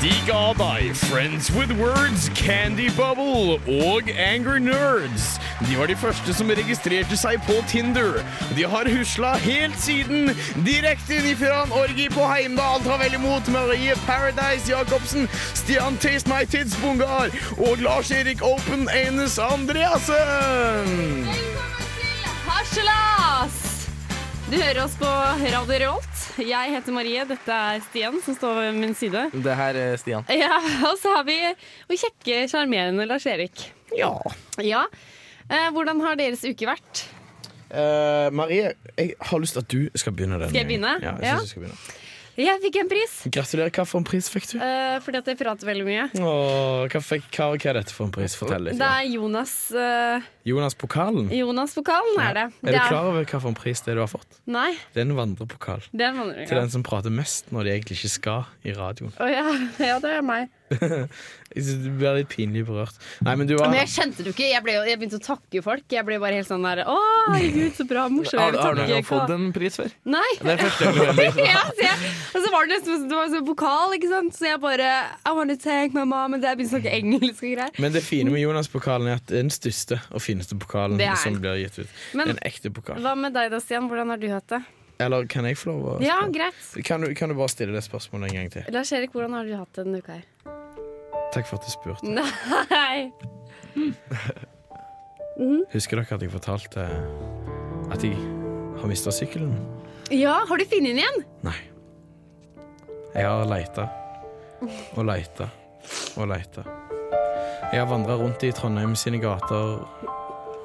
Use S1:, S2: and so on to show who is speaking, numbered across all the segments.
S1: De ga deg Friends with Words, Candy Bubble og Angry Nerds. De var de første som registrerte seg på Tinder. De har husla helt siden. Direkte inn fra en orgi på Heimdal tar vel imot Marie Paradise Jacobsen, Stian Taste My Tids Bungar og Lars-Erik Open Anus Andreassen.
S2: Velkommen til Harselas! Du hører oss på Radio Revolt. Jeg heter Marie, dette er Stian som står ved min side.
S3: Det her er Stian.
S2: Ja, og så har vi vår kjekke, sjarmerende Lars-Erik.
S1: Ja.
S2: Ja, eh, hvordan har deres uke vært?
S1: Eh, Marie, jeg har lyst til at du skal begynne.
S2: Skal jeg begynne?
S1: Ja, jeg
S2: Ja.
S1: synes du skal begynne.
S2: Jeg fikk en pris,
S1: Gratulerer. Hva for en pris fikk du?
S2: eh, fordi at jeg prater veldig mye.
S1: Åh, hva, fikk, hva, hva er dette for en pris? Fortell litt.
S2: Det er Jonas, eh,
S1: Jonas-pokalen.
S2: Jonas-pokalen, er det.
S1: Er du klar over hva for en pris det du har fått?
S2: Nei,
S1: Det er en vandrepokal.
S2: det er en vandring.
S1: Til den som prater mest når de egentlig ikke skal i radioen.
S2: Å ja. ja, det er meg.
S1: Jeg synes Du blir litt pinlig berørt. Nei, men du har,
S2: Men jeg kjente det jo ikke. Jeg, ble, jo- jeg begynte å takke folk. Jeg ble bare helt sånn der Å, herregud, så bra. Morsomt.
S3: Har, har du
S2: Takke,
S3: noen gang
S2: hva-
S3: fått en pris før?
S2: Nei.
S3: Det er første gang du
S2: ja, så jeg, og så var det nesten det var en sånn vokal, ikke sant. Så jeg bare I wanna take my mom and dad. Begynte å snakke engelsk og greier.
S1: men det fine med Jonas-pokalen er at det er den største og fineste pokalen
S2: Det er den.
S1: som blir gitt ut.
S2: Men-
S1: en ekte pokal.
S2: Hva med deg da, Stian? Hvordan har du hatt det?
S1: Eller kan jeg få lov å
S2: Ja,
S1: spørre?
S2: greit.
S1: kan, du, kan du bare stille det spørsmålet en gang til?
S2: Lars Erik, hvordan har du hatt det denne uka her?
S1: Takk for at du spurte.
S2: Mm. Nei.
S1: Husker dere at jeg fortalte at jeg har mista sykkelen?
S2: Ja, har du funnet den igjen?
S1: Nei. Jeg har leita og leita og leita. Jeg har vandra rundt i Trondheim sine gater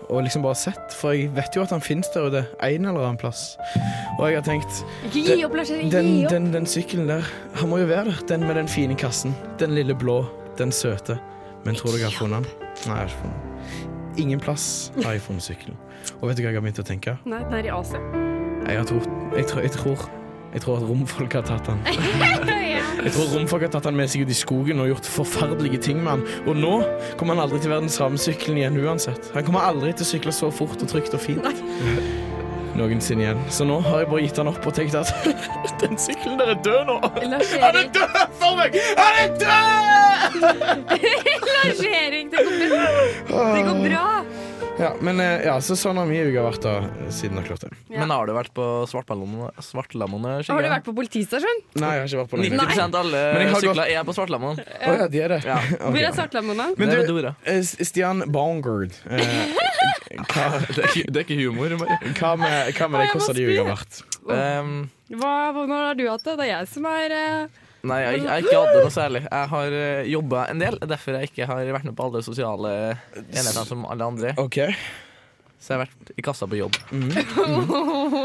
S1: og liksom bare sett, for jeg vet jo at han finnes der ute en eller annen plass. Og jeg har tenkt
S2: Ikke
S1: Den-
S2: gi opp, Lars Erik.
S1: den,
S2: Gi opp.
S1: den, den sykkelen der, han må jo være der. Den med den fine kassen. Den lille blå. Den søte. Men tror du jeg har funnet den? Nei, jeg har ikke funnet den. Ingen plass har jeg funnet sykkelen. Og vet du hva jeg har begynt å tenke?
S2: Nei, den er i Asia.
S1: Jeg, har tro, jeg, tror, jeg, tror, jeg tror at romfolk har tatt den.
S2: Ja.
S1: Jeg tror romfolk har tatt han med seg ut i skogen og gjort forferdelige ting med han. Og nå kommer han aldri til å være den samme sykkelen igjen uansett. Han kommer aldri til å sykle så fort og trygt og fint noensinne igjen. Så nå har jeg bare gitt han opp og tenkt at den sykkelen der er død nå.
S2: Lars
S1: Han er
S2: Erik,
S1: død for meg! Han er død!
S2: Lars Erik, det går bra. Det går bra.
S1: Ah, Ja, men eh, ja, så sånn har mye uke vært da siden dere klarte.
S2: Ja.
S3: Men har du vært på Svartlammene? Svartlammene
S2: Har du vært på politistasjonen?
S1: Nei, jeg har ikke vært på noen.
S3: 90 av alle
S1: Men jeg har
S3: sykler er på Svartlammene.
S1: Å ja, de er det.
S3: Ja.
S1: Ok.
S2: Hvor er Svartlammene?
S1: Men
S3: Det er
S1: du-
S3: ved Dora.
S1: Eh, Stian Bongard, eh, hva,
S3: Det er ikke, humor.
S1: hva med, hva med
S2: Å,
S1: deg? Hvordan har
S2: jeg må
S1: de uka vært?
S3: Ehm,
S2: Hva, hvordan har du hatt det? Det er jeg som er eh,
S3: nei, jeg, jeg har ikke hatt det noe særlig. Jeg har jobba en del, derfor jeg ikke har vært med på alle sosiale enheter som alle andre.
S1: OK.
S3: Så jeg har vært i kassa på jobb.
S1: Mm.
S3: Mm.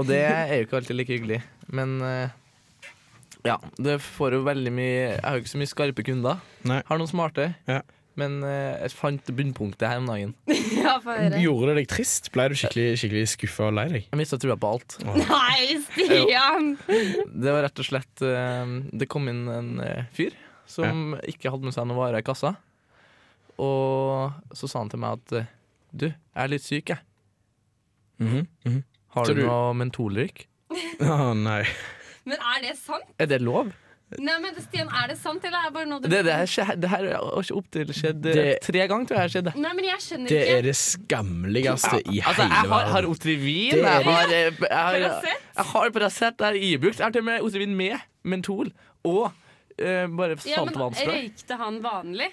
S3: Og det er jo ikke alltid like hyggelig. Men eh, ja, det får jo veldig mye Jeg har jo ikke så mye skarpe kunder.
S1: Nei.
S3: Har noen smarte.
S1: Ja.
S3: Men eh, jeg fant bunnpunktet her om dagen.
S2: Ja, få høre.
S1: Gjorde det deg trist? Ble du skikkelig, skikkelig skuffa og lei deg?
S3: Jeg mista trua på alt.
S2: Nei, Stian!
S3: Det var rett og slett eh, Det kom inn en eh, fyr som ikke hadde med seg noen varer i kassa. Og så sa han til meg at eh, Du, jeg er litt syk, jeg. Har
S1: Så
S3: du
S1: du-
S3: noe mentolrykk?
S1: Å nei.
S2: Men er det sant?
S3: Er det lov?
S2: Nei, men Stian, er det sant, eller er det bare noe du
S3: Det, det, her, skje- det her har ikke opptil skjedd eh,
S1: Det-
S3: tre ganger, tror jeg. har skjedd det.
S2: Nei, men jeg skjønner
S1: Det er
S2: ikke.
S1: det skammeligste i
S3: Altså,
S1: hele
S3: jeg har, har
S1: verden.
S3: Otrivin,
S1: Det er-
S3: jeg har, eh, jeg har,
S2: Paracet?
S3: jeg har Paracet, jeg har Ibux. Jeg har til og med Otrivin med mentol og eh, bare
S2: Ja, men
S3: saltvannspray.
S2: Røykte han vanlig?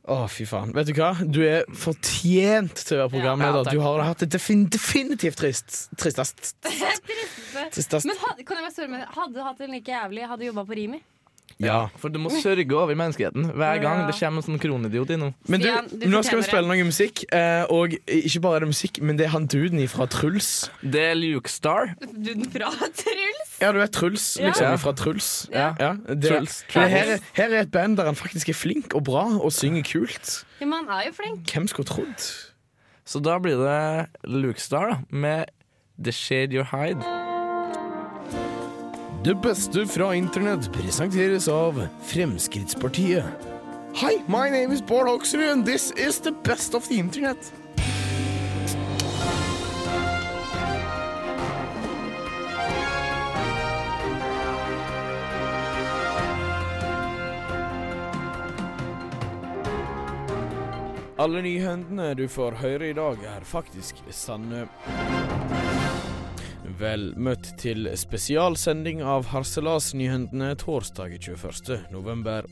S1: Å, fy faen. Vet du hva? Du er fortjent til å være
S3: Ja,
S1: programleder.
S3: takk.
S1: Du har hatt det defin definitivt trist. Tristest. Tristest.
S2: Men hadde, kan jeg bare spørre meg, hadde du hatt det like jævlig, hadde du jobba på Rimi?
S1: Ja.
S3: For du må sørge over menneskeheten hver gang
S2: Ja.
S3: det kommer en sånn kronidiot innom.
S1: Men du,
S2: Stian, du
S1: nå skal vi
S2: fortjener
S1: spille noe musikk, eh, og ikke bare er det musikk, men det er han duden ifra Truls.
S3: Det er Luke Star.
S2: Du den fra Truls?
S1: Ja, du er Truls, liksom,
S3: Ja.
S1: ifra Truls.
S3: Ja.
S1: Ja, det,
S3: Truls.
S1: Men Her, er- her er et band der han faktisk er flink og bra og synger kult.
S2: Ja, men han er jo flink.
S1: Hvem skulle trodd?
S3: Så da blir det Luke Star da, med The Shade You Hide.
S4: Det beste fra internett presenteres av Fremskrittspartiet. Hi, my name is Bård Hoksrud, and this is the best of the internet.
S1: Alle nyhendene du får høre i dag, er faktisk sanne. Vel møtt til spesialsending av Harselas-nyhendene torsdag 21. november.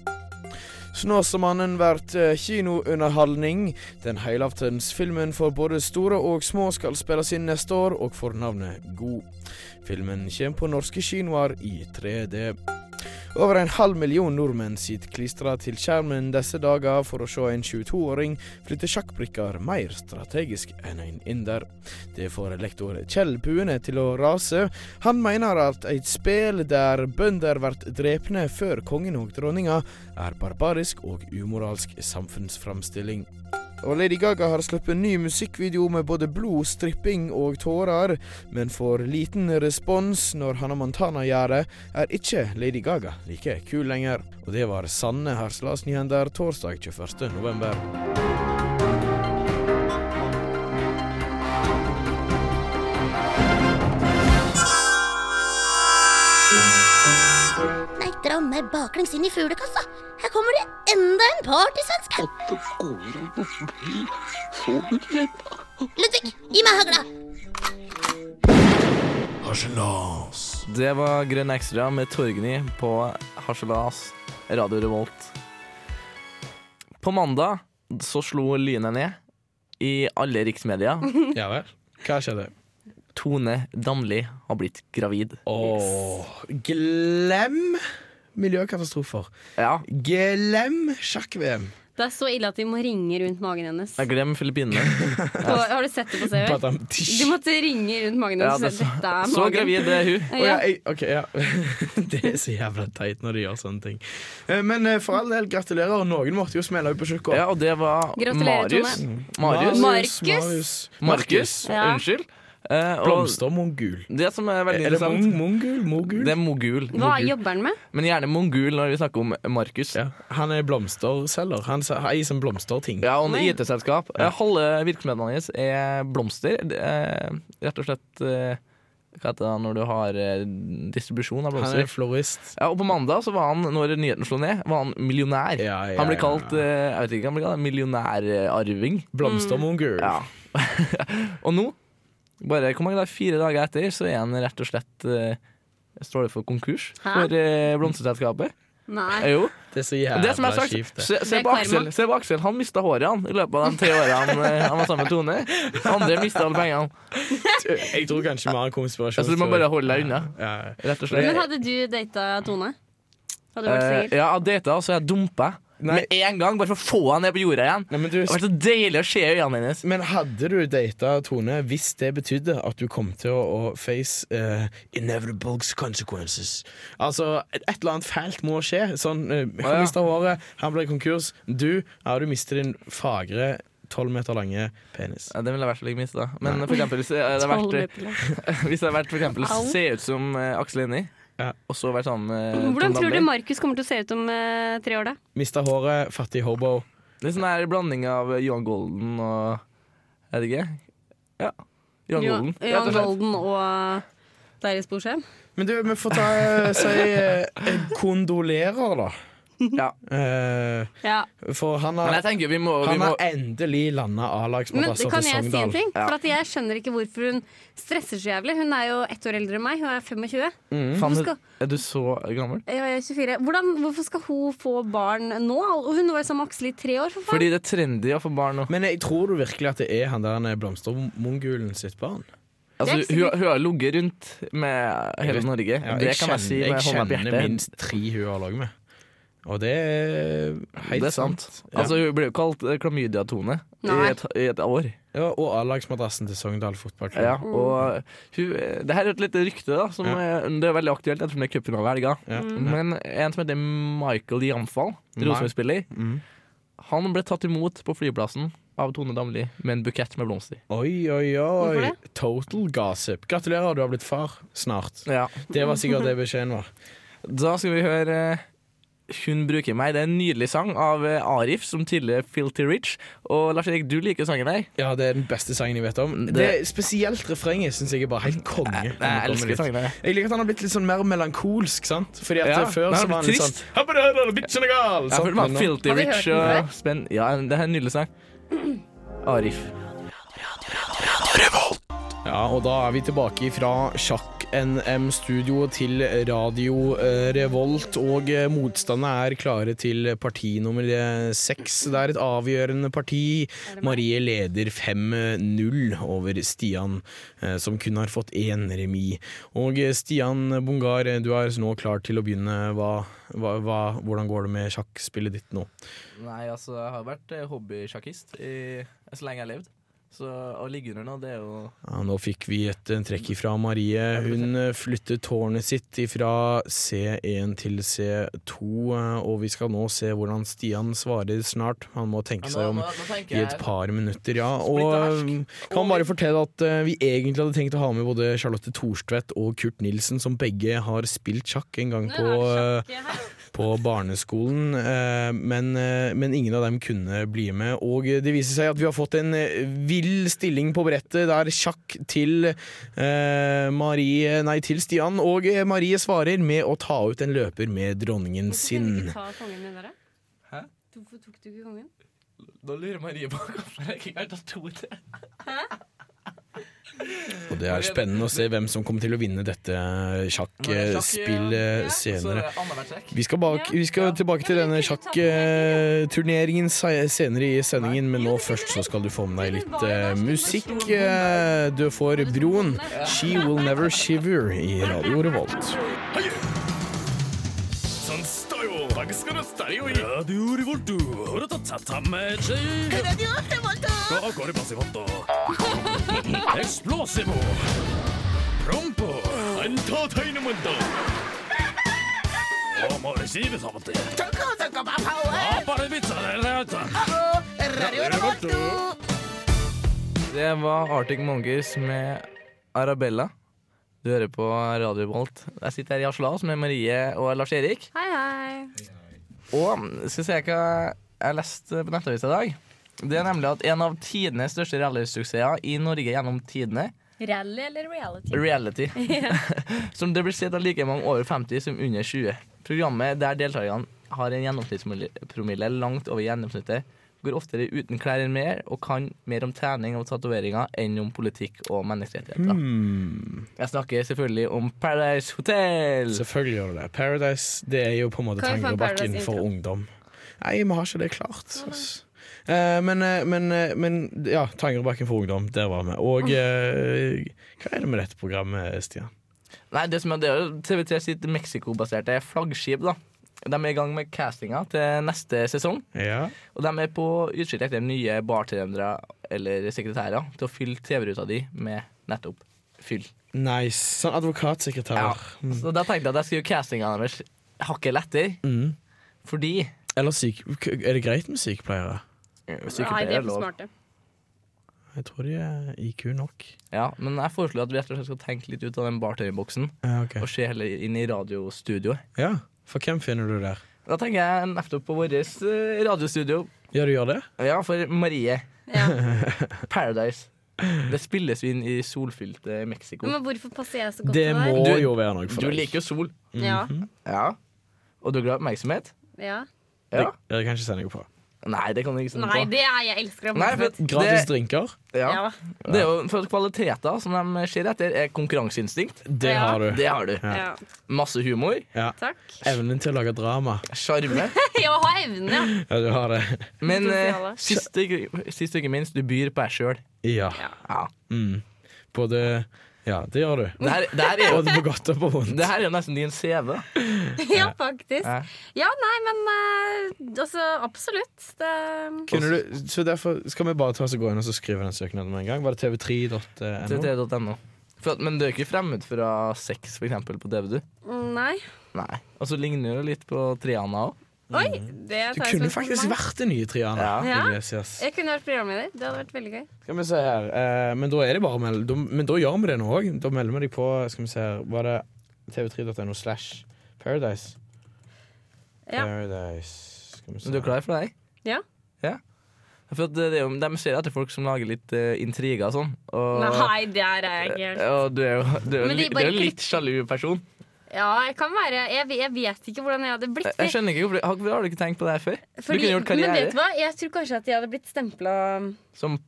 S1: Snåsamannen blir kinounderholdning. Den helaftens filmen for både store og små skal spilles inn neste år, og får navnet God. Filmen kommer på norske kinoer i 3D. Over en halv million nordmenn sitter klistra til skjermen disse dager for å se en 22-åring flytte sjakkbrikker mer strategisk enn en inder. Det får lektor Kjell Puene til å rase. Han mener at et spel der bønder blir drepne før kongen og dronninga, er barbarisk og umoralsk samfunnsframstilling. Og Lady Gaga har sluppet ny musikkvideo med både blod, stripping og tårer, men får liten respons når Hannah Montana gjør det, er ikke Lady Gaga like kul lenger. Og det var sanne Harselas-nyhender torsdag 21. november.
S5: Nei, dra meg baklengs inn i fuglekassa. Her kommer det enda en partysvenske. Ludvig, gi meg hagla.
S3: Det var Grønn Extra med Torgny på Harselas, Radio Revolt. På mandag så slo lynet ned i alle riksmedia.
S1: Ja vel. Hva skjedde?
S3: Tone Damli har blitt gravid.
S1: Åh, glem miljøkatastrofer.
S3: Ja,
S1: Glem sjakk-VM.
S2: Det er så ille at de må ringe rundt magen hennes.
S3: jeg glem Filippinene.
S2: På, har du sett det på CV?
S1: Badam,
S2: De
S1: tisj.
S2: måtte ringe rundt magen
S3: Ja,
S2: hennes og
S3: det
S2: si
S3: så,
S2: at dette er magen.
S3: så gravid det er hun.
S1: Å ja, jeg, ok, ja. Det er så jævla teit når de gjør sånne ting. Eh, Men eh, for all del, gratulerer. Noen måtte jo smelle ut på tjukka.
S3: Ja, og det var
S2: Gratulerer,
S3: Marius.
S2: Tone.
S3: Marius.
S2: Marius.
S1: Marius.
S3: Markus.
S2: Ja.
S3: Unnskyld. Eh, og
S1: Blomster mongul.
S3: Det som er veldig
S1: Eller
S3: interessant,
S1: mong, mongul? Mogul?
S3: det er mogul.
S2: Hva jobber han med?
S3: Men gjerne mongul når vi snakker om Markus.
S1: Ja, han er blomsterselger. Han se- har ei som blomsterting.
S3: Ja, og
S2: Oi.
S3: et IT-selskap. Eh, Halve virksomheten hans er blomster. Det er Rett og slett eh, Hva heter det når du har eh, distribusjon av
S1: Han er
S3: blomster?
S1: florist.
S3: Ja, og på mandag, så var han, når nyheten slo ned, var han millionær.
S1: Ja, ja,
S3: han ble
S1: ja,
S3: kalt
S1: ja.
S3: eh, jeg vet ikke hva han ble kalt, millionærarving.
S1: Blomstermongul.
S3: Mm. Ja. og nå, bare hvor mange dager, fire dager etter, så er han rett og slett eh, Står det for konkurs
S2: Hæ?
S3: for eh, blomsterselskapet?
S2: Nei.
S3: Eh, Jo.
S1: Det er så
S3: Og Det som
S1: jævla
S3: er sagt,
S1: kjipt. det.
S3: se, se,
S2: Det er
S3: på
S2: karma.
S3: Aksel, se på Aksel, han mista håret han i løpet av de tre årene han, eh, han var sammen med Tone. Andre mista alle pengene.
S1: Jeg tror kanskje vi har en konspirasjon.
S3: Altså, du må bare holde deg unna,
S1: Ja.
S3: rett og
S2: Men
S3: slett.
S2: hadde du data Tone? Hadde du vært
S3: Eh,
S2: singel?
S3: ja, jeg data, så jeg dumpa
S1: Nei.
S3: med en gang, bare for å få han ned på jorda igjen.
S1: Nei, men, du,
S3: Det har vært så deilig å se øynene hennes.
S1: men hadde du data Tone hvis det betydde at du kom til å, å face eh, inevitable consequences? Altså, et, et eller annet fælt må skje. Sånn, eh,
S3: Å,
S1: han
S3: ja.
S1: mista håret, han ble konkurs. Du, ja, du mister din fagre tolv meter lange penis.
S3: Ja, det ville jeg i hvert fall ikke mista. Men for eksempel, hvis jeg hadde vært, eh, hvis jeg hadde vært for eksempel,
S2: Au.
S3: se ut som eh, Aksel Hennie,
S1: Ja.
S3: og så vært sammen eh, med
S2: Hvordan
S3: Tone
S2: tror du
S3: Damli.
S2: Markus kommer til å se ut om eh, tre år, da?
S1: Mista håret, fattig hobo.
S3: Det er sånn her blanding av Johan Golden og Jeg vet ikke. Ja. Johan Golden.
S2: Jo-
S3: rett og
S2: Johan
S3: slett.
S2: Golden og Deilig Sporsheim?
S1: Men du, vi får ta eh, si eh, kondolerer, da.
S3: Ja.
S1: Eh,
S2: Ja.
S1: for han
S3: Men
S1: har,
S3: jeg tenker vi må, vi
S1: han
S3: må
S1: har endelig landa
S2: Men
S1: A-lagsmadrasser
S2: kan
S1: til
S2: jeg si en
S1: Sogndal.
S2: ting?
S3: Ja.
S2: For at Jeg skjønner ikke hvorfor hun stresser så jævlig. Hun er jo ett år eldre enn meg. Hun er 25.
S1: Mm.
S3: Faen,
S2: Hvorfor skal-
S3: er du så gammel?
S2: Jeg er 24. Hvordan, hvorfor skal hun få barn nå? Og hun var jo sammen med Aksel i tre år. For faen.
S3: Fordi det er trendy å få barn nå.
S1: Men jeg tror du virkelig at det er han der han blomstermongulen sitt barn?
S3: Altså,
S2: Det er
S3: hun, hun har ligget rundt med hele
S1: vet-
S3: Norge.
S1: Ja,
S3: det kan jeg si med
S1: jeg
S3: hånda på
S1: kjenner
S3: hjertet.
S1: minst tre hun har ligget med. Og det er helt
S3: Det er sant.
S1: Ja.
S3: Altså, hun ble jo kalt eh, klamydia-Tone i
S2: Nei.
S3: et, i et år.
S1: Ja, og A-lagsmadrassen til Sogndal fotballklubb.
S3: Ja, og hun, eh, det her er et lite rykte, da. Som er, det er veldig aktuelt ettersom det er cupfinale i helga.
S1: Ja.
S2: Mm.
S3: Men en som heter Michael Jamfall, Rosenborg-spiller,
S1: Mm.
S3: han ble tatt imot på flyplassen av Tone Damli med en bukett med blomster.
S1: Oi, oi,
S2: Hvorfor
S1: oi.
S2: det?
S1: Total gossip. Gratulerer, du har blitt far snart.
S3: Ja.
S1: Det var sikkert det beskjeden var.
S3: Da skal vi høre eh, Hun bruker meg. Det er en nydelig sang av eh, Arif, som tidligere Filty Rich. Og Lars Erik, du liker sangen her.
S1: Ja, det er den beste sangen jeg vet om.
S3: Det-
S1: Det, Spesielt refrenget syns jeg er bare helt konge. når det kommer dit.
S3: her.
S1: Jeg liker at han har blitt litt sånn mer melankolsk, sant? Fordi at eh,
S3: Ja,
S1: før
S3: men han
S1: så
S3: har
S1: var han litt
S3: blitt
S1: sånn
S3: trist.
S1: «Habba dabba, bitchen er gal»,
S3: Jeg
S1: sant?
S3: føler meg
S1: Men nå-
S3: Filty
S2: Har vi hørt
S3: Rich
S2: den
S3: og spenn... Ja, det er en nydelig sang. Arif.
S1: Ja, og da er vi tilbake fra sjakk-NM-studio til Radio eh, Revolt, og eh, motstanderne er klare til parti nummer eh, seks. Det er et avgjørende parti. Marie leder 5-0 over Stian, eh, som kun har fått én remis. Og eh, Stian Bongar, eh, du er nå klar til å begynne. Hva, hva, hva, hvordan går det med sjakkspillet ditt nå?
S3: Nei, altså, jeg har vært eh, hobbysjakkist i- eh, så lenge jeg har levd. Så å ligge under nå, det er jo
S1: Ja, nå fikk vi et eh, trekk ifra Marie. Hun eh, flyttet tårnet sitt ifra C1 til C2, eh, og vi skal nå se hvordan Stian svarer snart. Han må tenke seg om i et par minutter, ja. Og eh, kan bare fortelle at eh, vi egentlig hadde tenkt å ha med både Charlotte Thorstvedt og Kurt Nilsen, som begge har spilt sjakk en gang
S2: Nå
S1: på
S2: er det
S1: eh,
S2: sjakk her. altså.
S1: på barneskolen, eh, men, eh, men ingen av dem kunne bli med. Og det viser seg at vi har fått en eh, vill stilling på brettet. Det er sjakk til eh, Marie Nei, til Stian, og eh, Marie svarer med å ta ut en løper med dronningen
S2: Hvorfor kunne du
S1: sin.
S2: ikke ta kongen din der, da?
S3: Hæ?
S2: Hvorfor tok du ikke kongen?
S3: Nå lurer Marie på hvorfor jeg ikke har tatt to til.
S1: Og det er spennende å se hvem som kommer til å vinne dette eh,
S3: eh,
S1: sjakkspillet senere.
S3: Annethvert trekk.
S1: Vi skal, bak, vi skal tilbake til denne sjakkturneringen senere i sendingen, men nå først så skal du få med deg litt eh, musikk. Eh, Du får Broen, 'She Will Never Shiver', i Radio Revolt.
S6: Sånn stereo. Takk skal du ha, stereo i. Radio Revolto. Har du tatt sett ham med seg? Da går det passivotto. Explosivo. Prompo. Entertainmento. Og må det sive sammen til. Ja, bare vitsa det, det er alt.
S3: Det var Arctic Monkeys med Arabella. Du hører på Radio Volt. Jeg sitter her i Aslas med Marie og Lars-Erik.
S2: Hei, hei.
S3: Og skal se hva jeg leste på nettavisa i dag. Det er nemlig at en av tidenes største rallysuksesser i Norge gjennom tidene,
S2: Rally eller reality?
S3: reality, som det blir sett av like mange over 50 som under 20. Programmet der deltakerne har en gjennomsnittspromille langt over gjennomsnittet, går oftere uten klær enn mer, og kan mer om trening og tatoveringer enn om politikk og menneskerettigheter.
S1: Hmm.
S3: Jeg snakker selvfølgelig om Paradise Hotel.
S1: Selvfølgelig gjør det det. Paradise det er jo på en måte
S2: Kan vi få en
S1: tangobakken for
S2: Paradise-intro?
S1: ungdom. Nei, vi har ikke det klart. ass. Eh, Men, eh, men, eh, men ja, Tangerudbakken for ungdom, der var vi. Og eh, hva er det med dette programmet, Stian?
S3: Nei, det som er det er jo TV3 sitt Mexico-baserte flaggskip, da. De er i gang med castinga til neste sesong.
S1: Ja.
S3: Og de er på utkikk etter nye bartendere eller sekretærer til å fylle TV-ruta di med nettopp fyll.
S1: Nice. Sånn
S3: Ja.
S1: advokatsekretær.
S3: Så da tenkte jeg at jeg skulle gjøre castinga deres hakket lettere.
S1: Mm.
S3: Fordi eh,
S1: Eller syk... Er det greit med sykepleiere?
S2: Nei, de
S3: Sykepleier
S2: er for
S3: lov.
S2: smarte.
S1: Jeg tror de er IQ nok.
S3: Ja, men jeg foreslår at vi rett og slett skal tenke litt ut av den bartenderboksen
S1: Ja, ok.
S3: og se heller inn i radiostudioet.
S1: ja, for hvem finner du der?
S3: Da tenker jeg nettopp på vårt eh, radiostudio.
S1: Ja, du gjør det?
S3: Ja, for Marie.
S2: Ja.
S3: Paradise. Det spilles vi inn i solfylte Mexico.
S2: Men hvorfor passer jeg så godt
S1: Det
S2: til
S1: må
S3: Du-
S1: jo være noe for
S3: Du
S1: deg.
S3: liker jo sol.
S2: der? Ja.
S3: Mhm. Ja. Og du er glad i oppmerksomhet?
S2: ja.
S3: Ja.
S1: Det, det kan jeg ikke si noe på.
S3: Nei, det kan du ikke stemme
S2: Nei,
S3: på.
S2: det er jeg elsker
S3: Nei, for
S2: oppmerksomhet.
S3: at
S1: Gratis
S3: det,
S1: drinker,
S3: ja.
S2: Ja.
S3: det er jo for at kvaliteter som de ser etter, er konkurranseinstinkt.
S1: det
S2: Ja.
S1: har du.
S3: Det har du.
S2: ja.
S3: Masse humor.
S1: Ja.
S2: Takk.
S1: Evnen til å lage drama.
S3: Sjarme.
S2: Jeg må ha evne, ja.
S1: Ja, du har det.
S3: Men eh,
S2: Potensiale.
S3: sist ikke- sist og ikke minst, du byr på deg sjøl.
S1: Ja.
S3: Ja.
S1: Mm. Både Ja, det gjør du.
S3: Det her, det her er jo
S1: Både på godt og på vondt.
S3: det her er jo nesten din CV. da.
S2: Ja, faktisk.
S3: Ja.
S2: Ja, nei, men eh, altså, absolutt. Det
S1: Kunne du, så derfor skal vi bare ta oss og gå inn og så skrive den søknaden med en gang. Var det tv3.no?
S3: TT.no. For at- Men du er ikke fremmed fra sex, for eksempel, på DVD?
S2: mm, Nei.
S3: Nei. Og så ligner det jo litt på Triana òg.
S2: Oi!
S3: Mhm.
S2: Det
S1: Du
S2: tar jeg som
S1: kunne
S2: et
S1: faktisk
S2: kompliment.
S1: vært den nye Triana.
S2: Ja.
S1: Iglesias.
S2: Jeg kunne vært programleder. Det hadde vært veldig gøy.
S1: Skal vi se her eh, Men da er det bare å melde da- Men da gjør vi det nå òg. Da melder vi deg på Skal vi se her Var det tv3.no slash Paradise?
S2: Ja.
S1: Paradise Skal vi se
S3: Men du er klar for det?
S2: Ja.
S3: ja. For at det er jo, de ser etter folk som lager litt eh, intriger og sånn. Og,
S2: Nei, der er jeg gæren.
S3: og du er jo, du er jo,
S2: Men de
S3: li- du
S2: bare
S3: er jo en
S2: klikker.
S3: litt sjalu person.
S2: Ja, jeg kan være Jeg, ve- jeg vet ikke hvordan jeg hadde blitt.
S3: Jeg, jeg skjønner ikke hvorfor har, har du ikke tenkt på det her før?
S2: Fordi-
S3: du kunne gjort
S2: Men vet du
S3: karriere
S2: hva? Jeg tror kanskje at jeg hadde blitt stempla
S3: som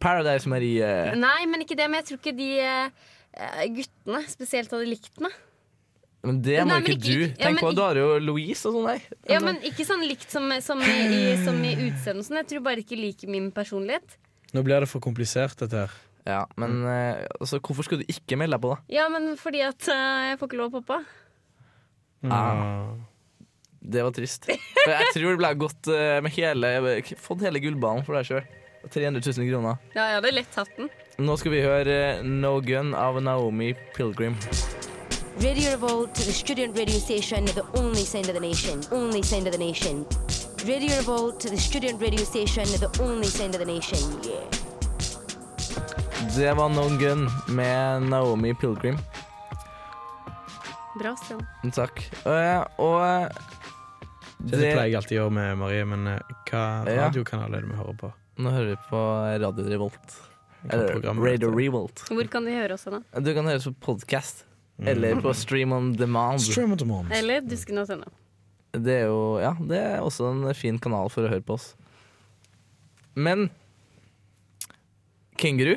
S3: Paradise Marie.
S2: Nei, men ikke det. Men jeg tror ikke de eh, guttene spesielt hadde likt meg.
S3: Men det må
S2: Nei, men
S3: ikke
S2: ikke-
S3: du.
S2: ikke- ja,
S3: Tenk
S2: men
S3: på
S2: ikke-
S3: Dario Louise og sånn der.
S2: Ja, men Ikke sånn likt som, som i, i, som i utseendet og sånn. Jeg tror bare ikke liker min personlighet.
S1: Nå blir det for komplisert, dette her.
S3: Ja, men eh, altså, hvorfor skulle du ikke melde deg på, da?
S2: Ja, men fordi at eh, jeg får ikke lov av pappa.
S1: Mm.
S3: Ah. Det var trist. For jeg tror det ble gått eh, med hele Fått hele gullballen for deg sjøl. 300 000 kroner.
S2: Ja, jeg hadde lett hatt den.
S3: Nå skal vi høre eh, No Gun av Naomi Pilgrim.
S7: Radio Revolt, the student radio station, the only sound of the nation, only sound of the nation. Radio Revolt, the student radio station, the only sound of the nation, yeah.
S3: Det var No Gun med Naomi Pilgrim.
S2: Bra sted.
S3: Takk. Eh, og eh,
S1: Det, pleier jeg alltid å gjøre med Marie, men eh, hva
S3: Ja.
S1: radiokanal er det vi hører på?
S3: Nå hører vi på Radio Revolt.
S1: Hva
S3: Eller
S1: program er
S3: Radio
S1: dette?
S3: Revolt.
S2: Hvor kan de høre oss hen? da?
S3: Du kan høre oss på podkast. Eller på Stream on Demand.
S1: Stream of the Month.
S2: Eller dusken.no.
S3: Det er jo Ja, det er også en fin kanal for å høre på oss. Men Kenguru,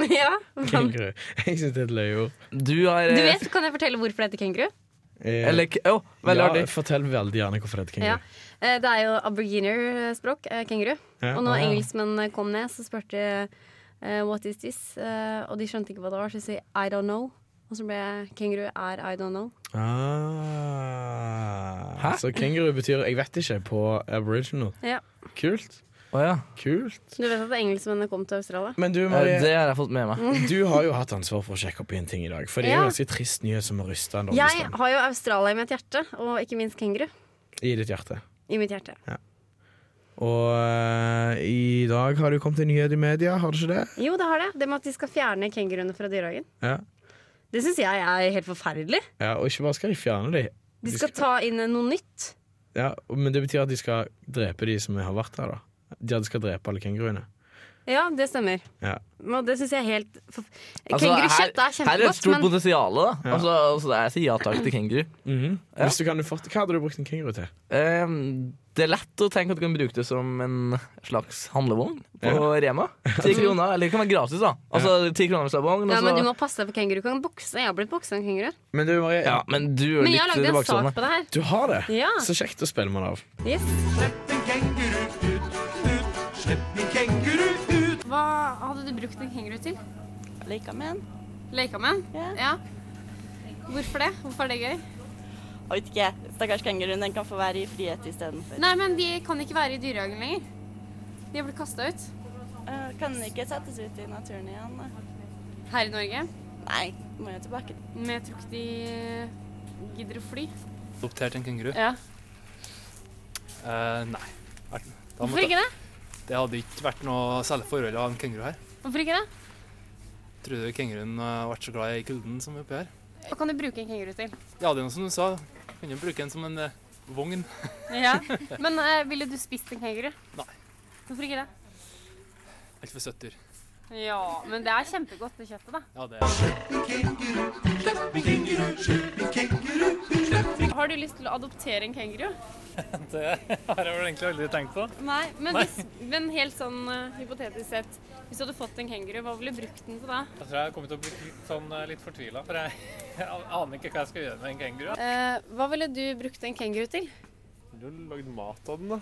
S2: ja, men,
S1: Kenguru. Jeg syns det er et løyeord.
S3: du har eh,
S2: du vet, kan jeg fortelle hvorfor det heter kenguru?
S1: Eh,
S3: Eller Å, veldig
S1: ja,
S3: artig.
S1: Fortell veldig gjerne hvorfor det heter
S2: Ja.
S1: kenguru.
S2: Eh, Det er jo aboriginer-språk, eh, kenguru.
S1: Ja.
S2: Og når
S1: Ah.
S2: engelskmenn eh, kom ned, så spurte de eh, What is this? Eh, og de skjønte ikke hva det var, så de sier I don't know. Og så ble kenguru er I don't know.
S1: Ah.
S3: Hæ?
S1: Så kenguru betyr 'jeg vet ikke' på aboriginal.
S2: Ja.
S1: Kult.
S3: Å ja.
S1: Kult.
S2: Du vet at engelskmennene kom til Australia?
S1: Men du,
S3: Eh,
S1: Marie,
S3: Det har jeg fått med meg.
S1: du har jo hatt ansvar for å sjekke opp i en ting i dag. For det er
S2: Ja.
S1: en ganske trist nyhet som har rysta en dårlig
S2: Jeg
S1: stand
S2: har jo Australia i mitt hjerte, og ikke minst kenguru
S1: i ditt hjerte.
S2: i mitt hjerte.
S1: Og eh, i dag har det jo kommet en nyhet i media, har det ikke det?
S2: Jo, det har det. Det med at de skal fjerne kenguruene fra dyrehagen.
S1: Ja.
S2: Det syns jeg er helt forferdelig.
S1: ja Og ikke bare skal de fjerne de.
S2: De skal ta inn noe nytt.
S1: Ja, Men det betyr at de skal drepe de som har vært her, da. De skal drepe alle kenguruene.
S2: Ja, det stemmer.
S1: Ja.
S2: Og det syns jeg er helt forf-
S3: Altså, her,
S2: Kengurukjøtt er
S3: her er det et
S2: kjempegodt,
S3: stort
S2: men
S3: potensial, da. Altså, altså, jeg sier ja takk til kenguru.
S1: Hvis du kan fått, Hva hadde du brukt en kenguru til?
S3: Eh, det er lett å tenke at du kan bruke det som en slags handlevogn på Rema. Ti kroner. Eller det kan være gratis, da. Altså ti kroner hvis det er vogn.
S2: Ja,
S3: og
S2: men du
S3: så-
S2: må passe deg for kenguru. Kan bokse. Jeg har blitt boksa av en kenguru.
S1: Men du, Marie,
S3: ja, men du er jo
S2: Men jeg har
S3: litt
S2: lagd en sak på
S3: tilbakestående.
S2: det her.
S1: du har det!
S2: Ja.
S1: Så kjekt å spille med det av.
S2: Yes. Hva hadde du brukt en kenguru til?
S8: Leka med en.
S2: Leka med den?
S8: Ja.
S2: Hvorfor det? Hvorfor er det gøy?
S8: Jeg vet ikke, jeg. stakkars kenguruen. Den kan få være i frihet istedenfor.
S2: Nei, men de kan ikke være i dyrehagen lenger. De har blitt kasta ut.
S8: Uh, kan den ikke settes ut i naturen igjen? da?
S2: Her i Norge.
S8: Nei, må jo tilbake.
S2: Men jeg tror ikke de gidder å fly.
S9: Adoptert en kenguru?
S2: Ja.
S9: Eh, nei. Er- Da
S2: Hvorfor
S9: måtte,
S2: ikke det?
S9: det hadde ikke vært noe særlig forhold av en kenguru her.
S2: Hvorfor ikke det?
S9: Tror du kenguruen har vært så glad i kulden som oppi her?
S2: Hva kan du bruke en kenguru til?
S9: Ja, det er noe som du sa. Kan jo bruke den som en eh, vogn.
S2: Ja. Men eh, ville du spist en kenguru?
S9: Nei.
S2: Hvorfor ikke det?
S9: Altfor søtt dyr.
S2: Ja, men det er kjempegodt det kjøttet, da.
S9: Ja, det er
S2: Har du lyst til å adoptere en kenguru?
S9: Det har jeg vel egentlig aldri tenkt på.
S2: Nei, men, hvis, men helt sånn eh, hypotetisk sett. Hvis du hadde fått en kenguru, hva ville du brukt den til da?
S9: Jeg tror jeg kommer til å bli litt, sånn, litt fortvila, for jeg, aner ikke hva jeg skal gjøre med en kenguru.
S2: Eh, hva ville du brukt en kenguru til?
S10: Du har lagd mat av den, da.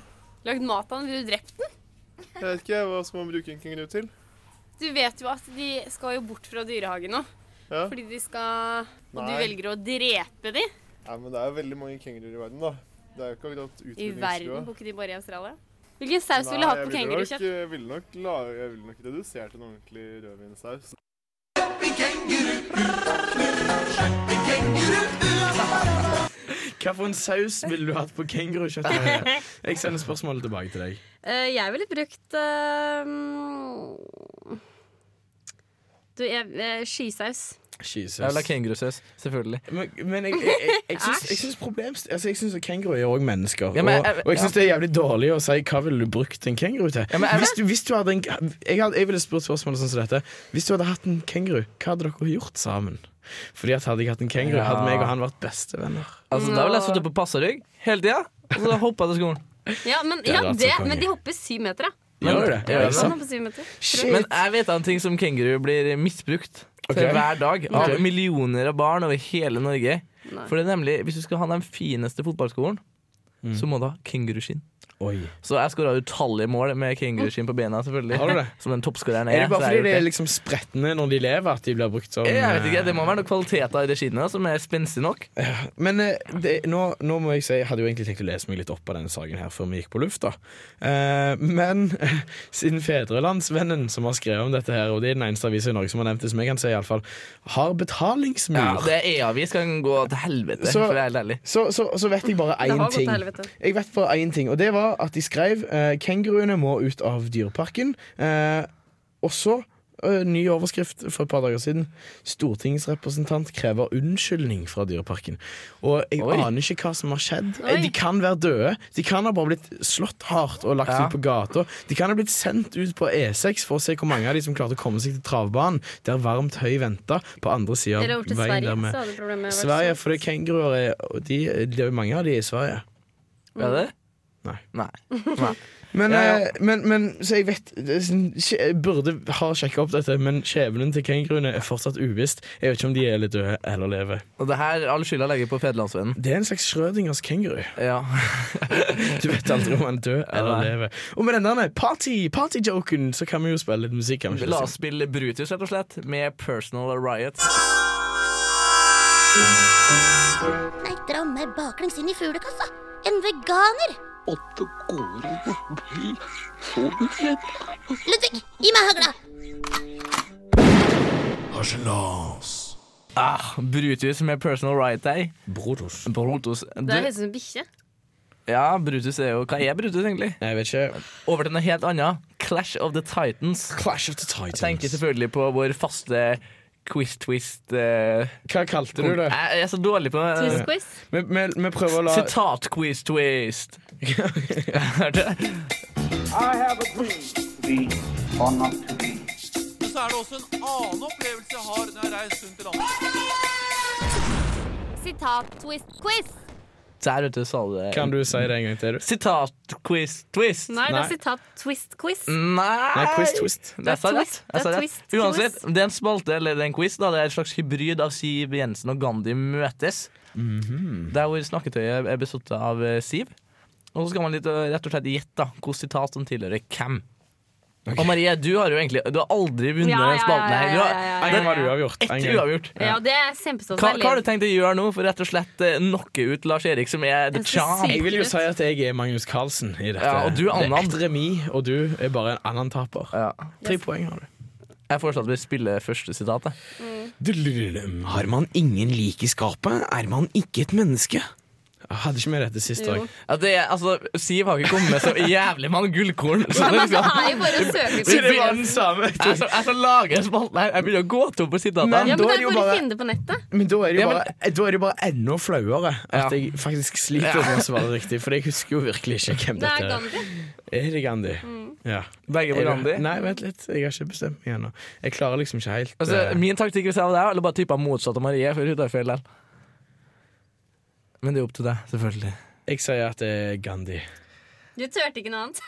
S2: Lagd mat av den? Ville du drept den?
S10: Jeg vet ikke hva som man bruker en kenguru til.
S2: Du vet jo at de skal jo bort fra dyrehagen nå.
S10: Ja.
S2: Fordi de skal Og du
S10: Nei.
S2: velger å drepe de
S10: Nei, men det er jo veldig mange kenguruer i verden, da. Det er jo ikke akkurat
S2: i verden.
S10: utrydningstrua.
S2: Bor ikke de bare i Australia? Hvilken saus ville du hatt på
S10: jeg ville nok,
S2: kengurukjøtt?
S10: jeg ville nok, la, jeg ville nok redusert en ordentlig rødvinsaus.
S1: Hva for en saus ville du hatt på kengurukjøttet? Jeg sender spørsmålet tilbake til deg.
S2: Eh, jeg ville brukt eh, mm, Du, jeg, eh, skysaus.
S3: Jeg vil ha
S1: Jesus.
S3: kengurusaus, selvfølgelig.
S1: Men, men jeg, jeg, jeg, jeg syns- jeg syns problemst... Altså, jeg syns at kenguruer er òg mennesker.
S3: Ja, men
S1: og,
S3: jeg-
S1: og jeg syns det er jævlig dårlig å si hva ville du brukt en kenguru til.
S3: men jeg-
S1: hvis, du, hvis du hadde en jeg, hadde, jeg ville spurt spørsmålet sånn som dette. Hvis du hadde hatt en kenguru, hva hadde dere gjort sammen? Fordi at hadde jeg hatt en kenguru,
S3: Ja.
S1: hadde meg og han vært bestevenner.
S3: Altså,
S2: Mm.
S3: Der ville jeg sittet på passerygg hele tida, og så hoppa jeg til skolen.
S2: Ja, men,
S1: er
S2: ja,
S1: altså
S2: det,
S1: konge.
S2: men de hopper syv meter, ja.
S1: Gjør det?
S3: Ja,
S1: Er det
S3: men-
S2: Han
S1: sant?
S2: hopper syv meter.
S3: Men jeg vet en ting som kenguru blir misbrukt til
S1: Ok.
S3: hver dag av
S1: Ok.
S3: millioner av barn over hele Norge.
S2: Nei.
S3: For det er nemlig, hvis du skal ha den fineste fotballskolen,
S1: Mm.
S3: så må du ha kenguruskinn.
S1: Oi.
S3: Så jeg skåra utallige mål med kenguruskinn på bena, selvfølgelig.
S1: Har du det?
S3: Som den toppskåreren
S1: Er det
S3: så
S1: bare
S3: jeg
S1: fordi
S3: har
S1: det er
S3: gjort
S1: liksom spretne når de lever, at de blir brukt som
S3: jeg vet ikke,
S1: eh,
S3: Det må være noen kvaliteter i det skinnet da, som er spenstig nok.
S1: Men eh, det, nå, nå må jeg si Jeg hadde jo egentlig tenkt å lese meg litt opp av denne saken her før vi gikk på lufta. Eh, men siden Fedrelandsvennen, som har skrevet om dette her, og det er den eneste avisa i Norge som har nevnt det, som jeg kan si iallfall, har betalingsmur.
S3: Ja, det er E-avis kan gå til helvete,
S1: Så-
S3: for å være helt ærlig.
S1: så, så, så vet jeg bare
S2: Det
S1: én
S2: har gått
S1: ting.
S2: til helvete.
S1: Jeg vet bare én ting, og det var at de skrev eh, Kenguruene må ut av dyreparken. Eh, og så eh, ny overskrift for et par dager siden. Stortingsrepresentant krever unnskyldning fra dyreparken. Og jeg
S3: Oi.
S1: aner ikke hva som har skjedd. Eh,
S2: Oi.
S1: De kan være døde. De kan ha bare blitt slått hardt og lagt
S3: Ja.
S1: ut på gata. De kan ha blitt sendt ut på E6 for å se hvor mange av de som klarte å komme seg til travbanen, der varmt høy venta, på andre sida
S2: Eller
S1: av
S2: over til
S1: veien.
S2: Sverige,
S1: der med
S2: så hadde problemet vært
S1: Sverige,
S2: sånn.
S1: for det er kenguruer er- og de, Det er jo mange av de i Sverige.
S3: Er det?
S1: Nei.
S3: Nei.
S1: Men,
S3: Ja, ja.
S1: eh, men, men så jeg vet det er sånn- skje- Jeg burde ha sjekka opp dette, men skjebnen til kenguruene er fortsatt uvisst. Jeg vet ikke om de er litt døde eller lever.
S3: Og det her, all skylda legger jeg på Federlandsvennen.
S1: Det er en slags Schrødingers kenguru.
S3: Ja.
S1: Du vet aldri om han er død eller
S3: Nei.
S1: lever. Og med den der party, partyjoken så kan vi jo spille litt musikk. Kan vi
S3: La
S1: ikke?
S3: oss spille Brutus, rett og slett, med Personal Riot.
S5: Nei, dra meg baklengs inn i fuglekassa. En veganer. Ludvig, gi meg hagla.
S3: Ah, Brutus med Personal Riot Day.
S1: Broders.
S3: Brutus.
S2: Det er
S3: Du,
S2: helt som en bikkje.
S3: ja, Brutus er jo Hva er Brutus, egentlig?
S1: Jeg vet ikke.
S3: Over til noe helt annet. Clash of the Titans.
S1: Clash of the
S3: Jeg tenker
S1: Titans.
S3: selvfølgelig på vår faste quiz-twist eh,
S1: Hva kalte du
S3: Jeg
S1: det?
S3: jeg er så dårlig på eh,
S2: Twist quiz.
S1: Vi, vi, vi prøver å la
S3: Sitat-quiz-twist. Hørte du?
S5: Sitat, twist, quiz.
S3: Der, vet du, sa du det.
S1: Kan du si det en gang til? du?
S3: Sitat-quiz-twist.
S2: Nei, det
S1: Nei.
S2: er sitat twist quiz.
S3: Mm.
S1: Nei,
S3: Nei
S1: quiz twist.
S3: Jeg sa rett.
S2: Det
S3: Jeg
S2: er
S3: sa rett.
S2: twist, twist.
S3: Uansett, om det er en spalte eller det er en quiz. Da, det er et slags hybrid av Siv Jensen og Gandhi møtes. Der hvor snakketøyet er besuttet av eh, Siv. Og så skal man litt, eh, rett og slett gjette da, hvilket sitat som tilhører hvem. Og Marie, du har jo egentlig Du har aldri vunnet
S2: Ja, ja,
S3: den spalten her. Du har
S2: ja, ja, ja,
S1: En
S2: ja.
S1: gang var det uavgjort. En
S3: ett
S1: gang.
S3: uavgjort.
S2: Ja, det er kjempestas.
S3: Hva, hva har du tenkt å gjøre nå for rett og slett eh, knocke ut Lars Erik, som er the
S2: Jeg skal
S3: champ?
S2: si-
S1: Jeg vil jo si at jeg er Magnus Carlsen i dette.
S3: Ja, og du er
S1: det er
S3: annen.
S1: ett remis, og du er bare en annen taper.
S3: Ja.
S1: Tre poeng har du.
S3: Jeg foreslår at vi spiller første sitatet.
S1: Har man ingen lik i skapet, er man ikke et menneske. Jeg hadde ikke med dette sist
S2: Jo.
S1: òg.
S3: Ja, det er, altså, Siv har ikke kommet med så jævlig mange gullkorn. Så
S2: altså,
S3: det
S2: Det
S3: skal-
S2: er jo bare å søke på
S3: det var
S2: Google.
S3: den
S1: samme.
S3: Jeg som, jeg som lager spalten her, jeg begynner å gå tom på
S2: Ja,
S3: sitatene.
S1: Men- Da
S2: men da
S1: er
S2: kan
S1: det jo
S2: du
S1: bare-
S2: finne det på nettet.
S1: Men da er det jo
S3: Ja, men-
S1: bare, da er det jo bare enda flauere at
S3: Ja.
S1: jeg faktisk sliter med å svare riktig. For jeg husker jo virkelig ikke hvem
S2: Det er
S1: dette er.
S2: Gandhi. Mm.
S1: Er det Gandhi? Ja.
S3: Begge på
S1: Er det-
S3: Gandhi.
S1: Nei, vent litt. Jeg har ikke bestemt meg ennå. Jeg klarer liksom ikke helt
S3: Altså,
S1: eh,
S3: min taktikk hvis jeg var deg, eller bare tippa motsatt av Marie. For hun tar feil der. Men det er opp til deg, selvfølgelig.
S1: Jeg sier at det er Gandhi.
S2: Du turte ikke noe annet.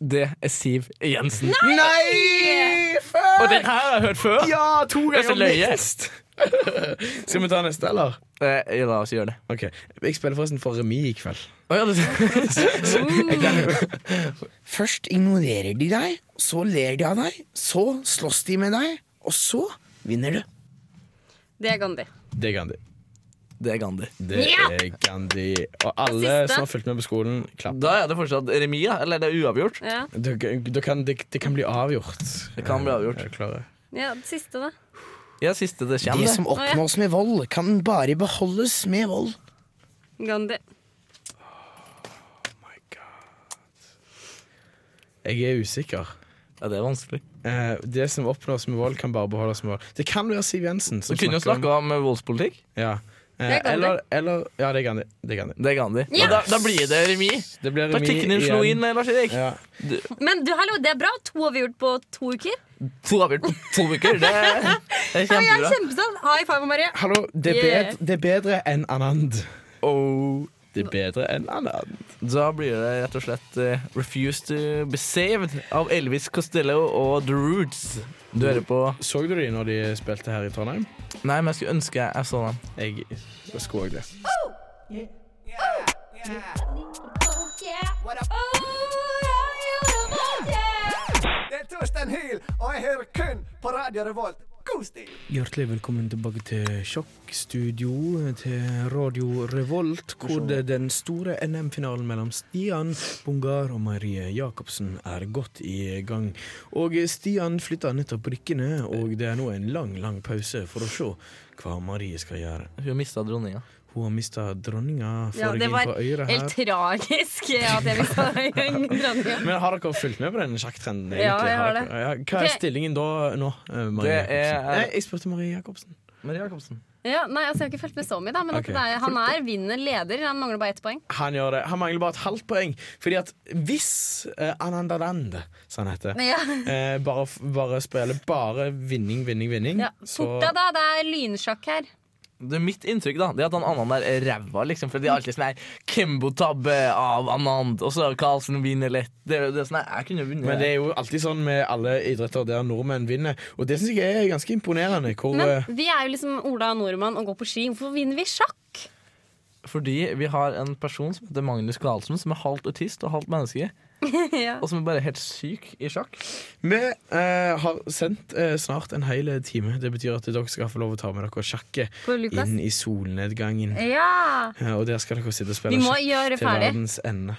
S3: Det er Siv Jensen.
S1: Nei!
S3: Og den her har jeg hørt før!
S1: Ja, to
S3: Det er så
S1: ganger
S3: løye.
S1: minst! Skal vi ta neste, eller?
S3: Eh, ja, la oss gjøre det.
S1: Ok, Jeg spiller forresten for remis i kveld.
S3: Å, ja, du,
S11: Først ignorerer de deg, så ler de av deg, så slåss de med deg, og så vinner du.
S2: Det er Gandhi.
S1: Det er Gandhi.
S3: det er Gandhi.
S1: Det
S2: Ja!
S1: er Gandhi. Og alle
S2: Siste.
S1: som har fulgt med på skolen, klapp.
S3: Da er det fortsatt remis, da. Eller det er uavgjort.
S2: Ja.
S1: Da- da kan, det, det kan bli avgjort. Eh,
S3: Det kan bli avgjort.
S1: Er du klare?
S2: ja, det siste, da.
S3: Ja, siste det
S11: Det
S3: kommer.
S11: som oppnås med vold, kan bare beholdes med vold.
S2: Gandhi.
S1: Jeg er usikker.
S3: Ja, det er vanskelig.
S1: Eh, det som oppnås med vold, kan bare beholdes med vold. Det kan være Siv Jensen.
S3: Du
S1: Som
S3: kunne jo
S1: snakker om-
S3: snakka om voldspolitikk.
S1: Ja. Eh,
S2: Det er Gandhi.
S1: eller, eller Ja, det er Gandhi. Det, er Gandhi.
S3: Det er Gandhi.
S2: Ja.
S3: Og da, da blir det remis.
S1: det blir remis
S3: Taktikken din slo
S1: igjen.
S3: inn, Lars Erik.
S1: Ja.
S2: Men du, hallo, det er bra. To har vi gjort på to uker.
S3: to avgjort på to uker. Det, det er
S2: Ja, jeg er
S3: kjempebra.
S2: kjempestolt. High five, Marie.
S11: Hallo,
S2: det er Yeah. bed-
S11: det er bedre enn Anand.
S3: Oh,
S1: Det er bedre enn Anand.
S3: da blir det rett og slett eh, Refuse to be saved av Elvis Costello og The Roots. Du hører på
S1: Så du de når de spilte her i Trondheim?
S3: Nei, men jeg skulle ønske jeg, jeg så den.
S1: Jeg, jeg skulle òg det.
S12: Det er Torstein Hyl, og jeg hører kun på Radio Revolt. God stil!
S1: Hjertelig velkommen tilbake til Sjokkstudio, til Radio Revolt, hvor det, den store NM-finalen mellom Stian Bungar og Marie Jacobsen er godt i gang. Og Stian flytter nettopp brikkene, og det er nå en lang, lang pause for å se hva Marie skal gjøre.
S3: Hun mista dronninga.
S1: Hun har mista dronninga, får
S2: Ja,
S1: jeg
S2: det
S1: inn
S2: var
S1: på øret
S2: helt
S1: her.
S2: tragisk at jeg mista dronninga.
S1: Men har dere fulgt med på den sjakktrenden?
S2: Ja,
S1: egentlig?
S2: jeg har det.
S1: dere- Ja, hva er
S2: Ok.
S1: stillingen da nå, eh, Marie
S3: Det er-
S1: Jacobsen? Nei, jeg spurte Marie Jacobsen.
S3: Marie Jacobsen.
S2: Ja, nei, altså, jeg har ikke fulgt med så mye, da, men at
S1: Ok.
S2: det er, han er vinner leder. Han mangler bare ett poeng.
S1: Han gjør det. Han mangler bare et halvt poeng. Fordi at hvis eh, Anandanand, som han heter,
S2: Ja.
S1: eh, bare, f- bare spiller bare vinning, vinning, vinning
S2: Ja.
S1: så-
S2: Fort da, da. Det er lynsjakk her.
S3: Det er mitt inntrykk da Det er at han Anand der er ræva, liksom. For de er alltid sånn her Kembo-tabbe av Anand. Og så Carlsen vinner lett. Det, er- det er sånn her, Jeg kunne vunnet.
S1: Men det er jo alltid sånn med alle idretter der nordmenn vinner, og det syns jeg er ganske imponerende. Hvor eh,
S2: Men vi er jo liksom Ola Nordmann og går på ski. Hvorfor vinner vi sjakk?
S3: Fordi vi har en person som heter Magnus Carlsen, som er halvt autist og halvt menneske.
S2: ja.
S3: Og som er bare helt syk i sjakk.
S1: Vi eh, har sendt eh, snart en hel time. Det betyr at dere skal få lov å ta med dere sjakket
S2: På Lukas.
S1: inn i solnedgangen.
S2: Ja!
S1: Eh, og der skal dere sitte og spille
S2: Vi må
S1: sjakk
S2: gjøre
S1: til
S2: ferdig.
S1: verdens ende.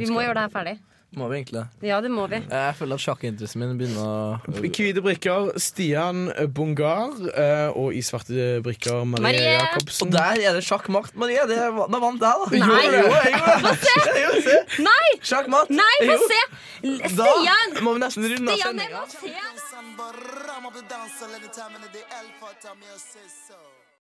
S2: Vi må gjøre det her ferdig.
S3: Må vi egentlig det?
S2: Ja, det må vi.
S3: Jeg føler at sjakkinteressen min begynner å
S1: Hvite brikker, Stian Bungar. eh, Og i svarte brikker, Marie,
S3: Marie!
S1: Jacobsen.
S3: Og der er det sjakkmatt, Marie. Det, var- da vant jeg, da.
S1: Nei.
S3: Jo, jo, jo, jo.
S2: Få se!
S3: Jo, se.
S2: Nei!
S3: Sjakkmatt.
S2: Nei, få
S3: Jo.
S2: se! L-
S3: Da
S2: Stian!
S3: må vi nesten runde av
S2: Stian, jeg
S3: sendinga.
S2: må se!
S12: Samba, rama, dansa, lady, time, and the alpha, time, your sister.